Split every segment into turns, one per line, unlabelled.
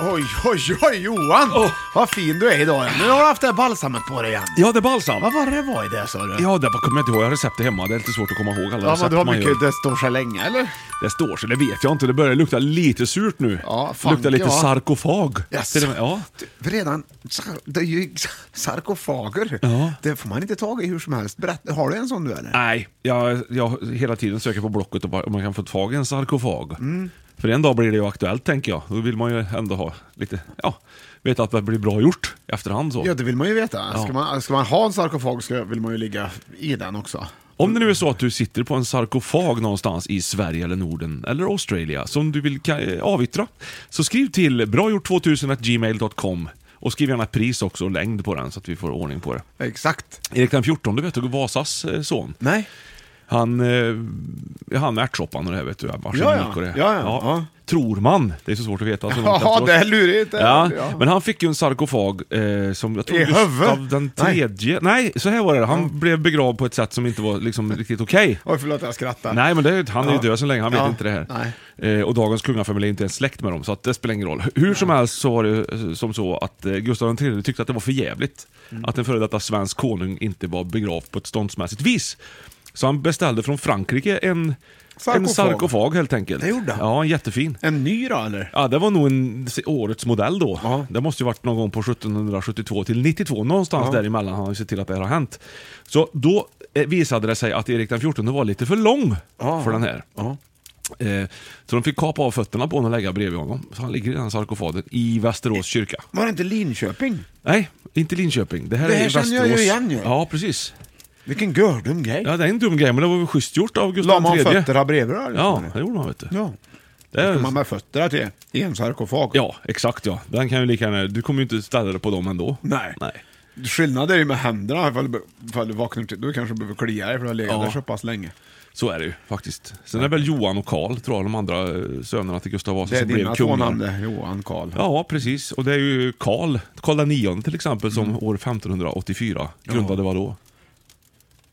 Oj, oj, oj Johan! Vad fin du är idag. Nu har du haft det här balsamet på dig igen.
Ja, det är balsam.
Vad var det det var i det sa du?
Ja, det var- kommer jag inte ihåg. Jag har receptet hemma. Det är lite svårt att komma ihåg alla
ja men
recept
du har
man gör.
mycket, det står så länge eller?
Det står så, det vet jag inte. Det börjar lukta lite surt nu.
Ja,
det
fan,
luktar lite
ja.
sarkofag.
Yes.
Till och med, ja.
Du, Redan, sar- det är ju sarkofager.
Ja.
Det får man inte tag i hur som helst. Berätta, har du en sån du eller?
Nej, jag, jag hela tiden söker på Blocket och bara, om man kan få tag i en sarkofag.
Mm.
För en dag blir det ju aktuellt, tänker jag. Då vill man ju ändå ha lite, ja, veta att det blir bra gjort i efterhand så.
Ja, det vill man ju veta. Ska,
Ja.
man, ska man ha en sarkofag ska, vill man ju ligga i den också.
Om det nu är så att du sitter på en sarkofag någonstans i Sverige eller Norden eller Australien som du vill ka- eh, avyttra, så skriv till bragjort2000gmail.com och skriv gärna pris också och längd på den så att vi får ordning på det.
Exakt.
Erik den 14 du vet du, Vasas eh, son.
Nej.
Han, eh, han med ärtsoppan och det här vet du, arsenik
Ja, ja.
och det. här.
Ja, ja. Ja.
Tror man. Det är så svårt att veta. Så långt
Ja,
efteråt.
det är lurigt. det är-
Ja,
ja.
men han fick ju en sarkofag eh, som jag tror
I
Gustav
huvudet?
den
Nej.
tredje... Nej. så här var det. Han blev begravd på ett sätt som inte var liksom, riktigt okej.
Oj, förlåt jag skrattar.
Nej, men det, är- han är ju
Ja.
död så länge, han vet
Ja.
inte det här. Eh, och dagens kungafamilj är inte ens släkt med dem, så att det spelar ingen roll. Hur som helst så var det eh, som så att eh, Gustav III tyckte att det var för jävligt
Mm.
att en före detta svensk konung inte var begravd på ett ståndsmässigt vis. Så han beställde från Frankrike en sarkofag, en
Sarkofag.
sarkofag helt enkelt.
Det gjorde han?
Ja, en jättefin.
En ny då eller?
Ja, det var nog en, årets modell då.
Ja.
Det måste ju varit någon gång på 1772 till 92, någonstans däremellan har han ju sett till att det här har hänt. Så då eh, visade det sig att Erik den 14 var lite för lång
Ja.
för den här. Eh, Så de fick kapa av fötterna på honom och lägga bredvid honom. Så han ligger i den sarkofagen i Västerås kyrka.
Var det inte Linköping?
Nej, inte Linköping. Det här
Det
är
här
i
känner
Västerås.
jag ju igen ju.
Ja, precis.
Vilken gördum grej.
Ja, det är en dum grej, men det var väl schysst gjort av
La
Gustav
man
III.
fötterna bredvid då?
Ja,
liksom,
det
eller?
gjorde man vet du.
ja.
Det är-
Kommer man med fötterna till i en sarkofag?
Ja, exakt ja. Den kan ju lika gärna... Du kommer ju inte ställa dig på dem ändå.
Nej.
Nej.
Skillnaden är ju med händerna, ifall, ifall du vaknar till, då kanske du behöver klia dig för du har legat
Ja.
där så pass länge.
Så är det ju faktiskt. Sen är väl Johan och Karl, tror jag, de andra eh, sönerna till Gustav Vasa
Det är
som blev
dina två
kungar.
namn det, Johan Karl.
Ja, precis. Och det är ju Karl, Karl den nionde till exempel, som
Mm.
år 1584 grundade vad då?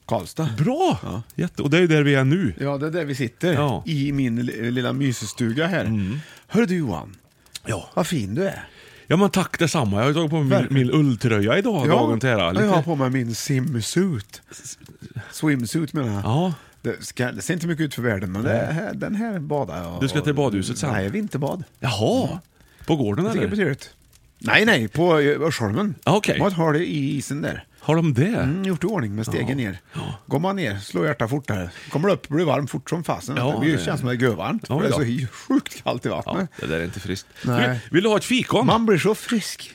Karlstad.
Bra! Jätte... Och det är ju där vi är nu.
Ja, det är där vi sitter,
Ja. Mm.
i min li- lilla mysestuga här. Hör du Johan,
Ja.
vad fin du är.
Ja men tack detsamma. Jag har ju tagit på mig min,
Verkligen.
min ulltröja idag, dagen till ära.
jag har
Lite...
på mig min simsuit. Swimsuit menar jag.
Ja.
Det, ska, det ser inte mycket ut för världen, men det här, den här badar jag.
Du ska till badhuset sen?
Nej, vinterbad.
Jaha. På
Mm.
gården
Jag tycker det betyder
eller?
ut. Nej, nej, på eh, Örsholmen.
Ja, okej.
Man har det i isen där.
Har de det?
Mm, gjort i ordning med stegen ner. Går man ner, slår hjärtat fortare. Kommer du upp blir det varmt fort som fasen.
Ja,
det
det-
känns som det är görvarmt.
Ja,
för det är
ja.
så hy- sjukt kallt i
Ja,
vattnet.
det där är inte friskt.
Nej.
Du, Vill du ha ett fikon?
Man blir så frisk.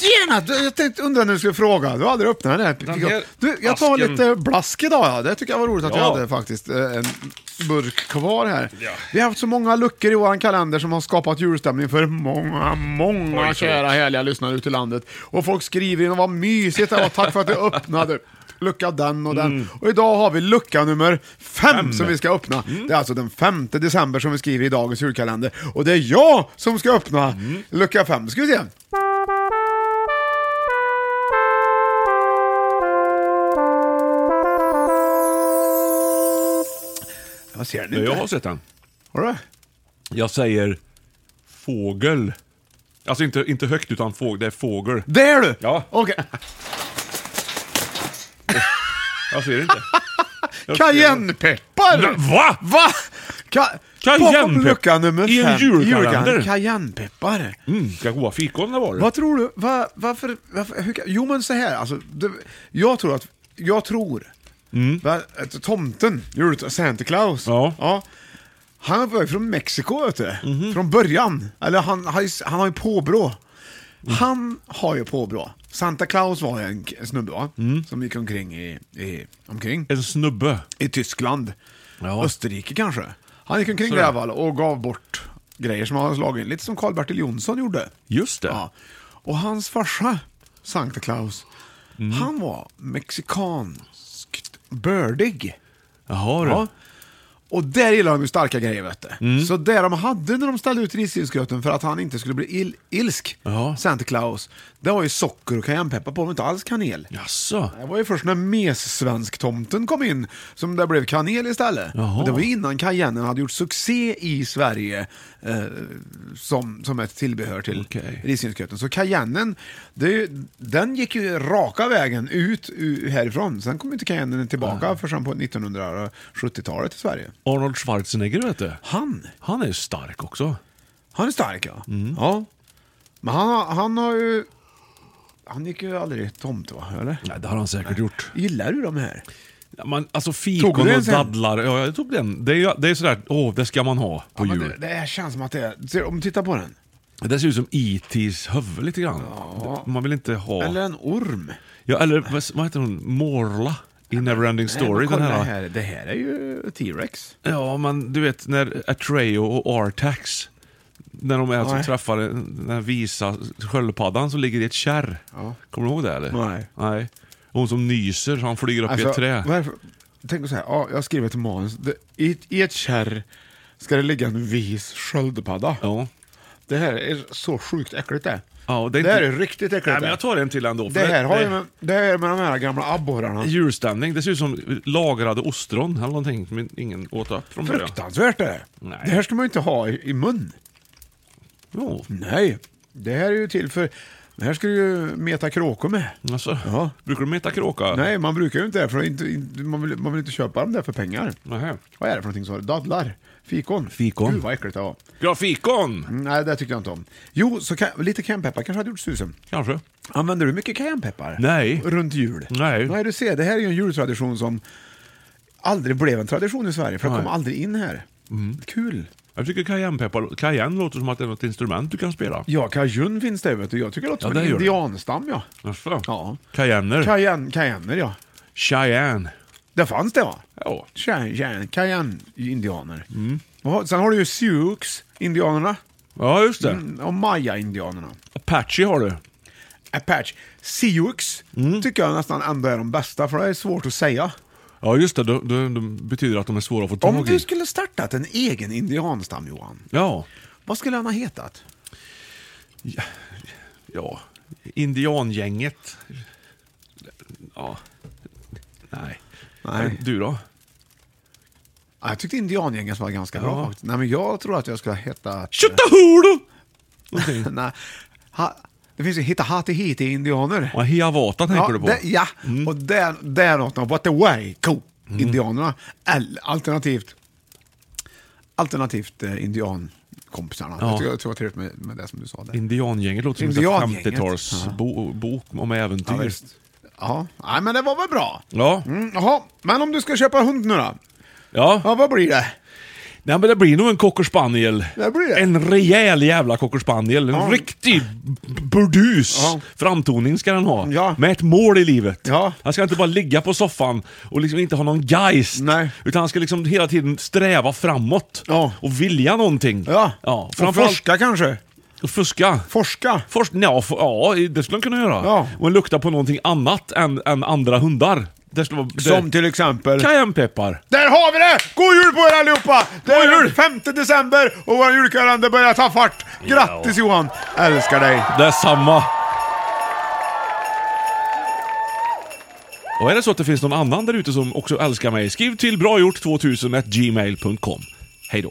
Ge den här! Jag tänkte, undrade när du skulle fråga. Du hade öppnat den
Den
här.
här
Du, jag tar
flasken.
lite blask idag. Ja. Det tycker jag var roligt att jag
Ja.
hade faktiskt. eh, En burk kvar här.
Ja.
Vi har haft så många luckor i våran kalender som har skapat julstämning för många, många
Oj, så.
kära härliga lyssnare ute i landet. Och folk skriver in och vad mysigt det var. Tack för att du öppnade. Lucka den och den.
Mm.
Och idag har vi lucka nummer fem, som vi ska öppna.
Mm.
Det är alltså den 5 december som vi skriver i dagens julkalender. Och det är jag som ska öppna
Mm.
lucka fem. Ska vi se. Jag ser den inte.
Jag har sett den.
Har du det?
Jag säger fågel. Alltså inte, inte högt, utan fågel. Det är fågel.
Det är du!
Ja.
Okej.
Jag ser inte. Jag ser-
Cayennepeppar!
Nej, va?
Va? Ka-
Cayennepeppar.
Bakom lucka nummer
I en
fem
julkalender.
julkalender. Cayennepeppar.
Mm, vilka goda fikon det var.
Vad tror du? Va, varför? varför hur, kan- jo men så här, alltså, det, jag tror att... Jag tror... Va, att tomten, jul- Santa Claus.
Mm. Ja. Mhm.
han var ju från Mexiko vet du. Från början. Eller han, han, han har ju påbrå.
Mm.
Han har ju påbrå. Santa Claus var ju en k- snubbe va?
Mm.
Som gick omkring i... i omkring.
En snubbe.
I Tyskland.
Ja.
Österrike kanske. Han gick omkring där i alla fall och gav bort grejer som han hade slagit in. Lite som Karl-Bertil Jonsson gjorde.
Just det.
Ja. Och hans farsa, Santa Claus,
Mm.
han var mexikanskt bördig.
Jaha du. Mm.
Ja. Och där gillar de ju starka grejer vet du. Så det de hade när de ställde ut risgrynsgröten för att han inte skulle bli il- ilsk,
Ja.
Santa Claus, det var ju socker och cayennepeppar på, men inte alls kanel.
Jaså?
Det var ju först när messvensktomten kom in som det blev kanel istället.
Jaha.
Och det var ju innan cayennen hade gjort succé i Sverige eh, som, som ett tillbehör till
Okej.
risgrynsgröten. Så cayennen, det, är ju- den gick ju raka vägen ut u- härifrån. Sen kom ju inte cayennen tillbaka förrän på 1970-talet i Sverige.
Arnold Schwarzenegger vet du.
Han,
Han Mm. är ju stark också.
han är stark ja. ja. Men han, har- han har ju... Han gick ju aldrig tomte va, eller?
Nej, det har han säkert gjort.
Gillar du de här?
Ja, Man, alltså
Tog
fikon
du
och
den sen?
dadlar. Ja, jag tog den. Det är, ju- det är sådär, åh, det ska man ha
Ja,
på
men
jul.
Det, det här känns som att det är... ser- Om du tittar på den.
Det, ser ut som E.T.s huvud lite grann. Det- Man vill inte ha...
Eller
Eller,
en orm.
ja, eller vad, vad heter hon? Morla i Neverending Story.
Nej, men
den
kolla
här.
här. Det här är ju T-Rex.
Ja, men du vet när Atreo och Artax, när de är alltså
Nej.
träffar den här visa sköldpaddan som ligger i ett kärr.
Ja.
Kommer du ihåg det eller?
Nej.
Nej. Hon som nyser så han flyger upp i ett trä.
Alltså, Varför? Tänk så här, ja, jag skriver ett manus. Det, i, ett- I ett kärr ska det ligga en vis sköldpadda.
Ja.
Det här är så sjukt äckligt det.
Ja,
det,
det är
här
inte-
är riktigt äckligt
Nej, men jag tar en till ändå. för
det här har ju
det-
med, det här är med de här gamla abborrarna.
Julstämning. Det ser ut som lagrade ostron eller någonting som ingen åt upp från början.
Fruktansvärt är det.
Nej.
Det här ska man ju inte ha i, i mun.
Jo,
Nej. Det här är ju till för... Det här ska du ju meta kråkor med.
alltså.
Ja.
Brukar du meta kråka?
Nej, man brukar ju inte det, för det är inte, inte- man, vill, man vill inte köpa dem där för pengar.
Nähä.
Vad är det för någonting sa du? Dadlar? Fikon?
Fikon.
Gud vad äckligt det var.
Ja, fikon!
Mm, Nej, det tyckte jag inte om. Jo, så ka- lite cayennepeppar kanske hade gjort susen.
Kanske.
Använder du mycket cayennepeppar?
Nej.
Runt jul?
Nej.
Nej, du ser, det här är ju en jultradition som aldrig blev en tradition i Sverige, för det
Nej. Mm.
kom aldrig in här. Kul.
Jag tycker cayennepeppar, cayenne låter som att det är något instrument du kan spela.
Ja, cajun finns det, vet du. Jag tycker det låter
Ja,
som en
det gör det.
indianstam, ja.
Jaså?
Ja.
Cayenner.
Cayenne, cayenner, ja.
Cheyenne.
Det fanns det, va?
Ja.
Cheyenne, Cayenne-indianer.
Mm.
Och Sen har du ju Sioux-indianerna
ja, just det.
mm, och Maya-indianerna.
Apache har du.
Apache. Sioux
Mm.
tycker jag nästan ändå är de bästa, för det är svårt att säga.
Ja, just det. Det, det, det betyder att de är svåra att få
Om
tag
du
i.
skulle startat en egen indianstam, Johan,
Ja.
vad skulle han ha hetat?
Ja. Indiangänget. Ja. Nej.
Nej.
Du då?
Ja, Jag tyckte indiangänget var ganska bra
Ja.
faktiskt. Nej, men jag tror att jag skulle ha hetat... eh,
Tjottahulu!
Nej, ha, det finns ju hitta hati hiti indianer
Ja, Hiawatha tänker du på. Mm.
det- ja. och där, där något. något. What the way, cool. Indianerna. Eller alternativt, alternativt eh, indiankompisarna.
Ja.
Jag tycker jag tror det var trevligt med, med det som du sa där.
Indiangänget låter som en
Indiangänget.
50-talsbok om
ja,
äventyr.
visst. ja. Nej, men det var väl bra.
Ja.
Mm, jaha, men om du ska köpa hund nu då?
Ja.
Ja, vad blir det?
Nej men det blir nog en cocker spaniel.
Det blir det.
En rejäl jävla cocker spaniel. En riktig b- burdus
Ja.
framtoning ska den ha.
Ja.
Med ett mål i livet.
Ja.
Han ska inte bara ligga på soffan och liksom inte ha någon geist.
Nej.
Utan han ska liksom hela tiden sträva framåt.
Ja.
Och vilja någonting.
Ja.
ja.
Och
Framförallt
forska kanske?
och fuska.
Forska?
Forsk, ja, f- ja, det skulle han kunna göra.
Ja.
Och lukta på någonting annat än, än andra hundar. Det skulle vara, det,
Som till exempel...
Cayennepeppar.
Där har vi det! God jul på er allihopa! Det
God
är
jul!
den 5 december och vår julkalender börjar ta fart. Grattis Johan! Älskar dig!
Detsamma. Och är det så att det finns någon annan där ute som också älskar mig, skriv till bragjort2000 gmail.com. Hej då.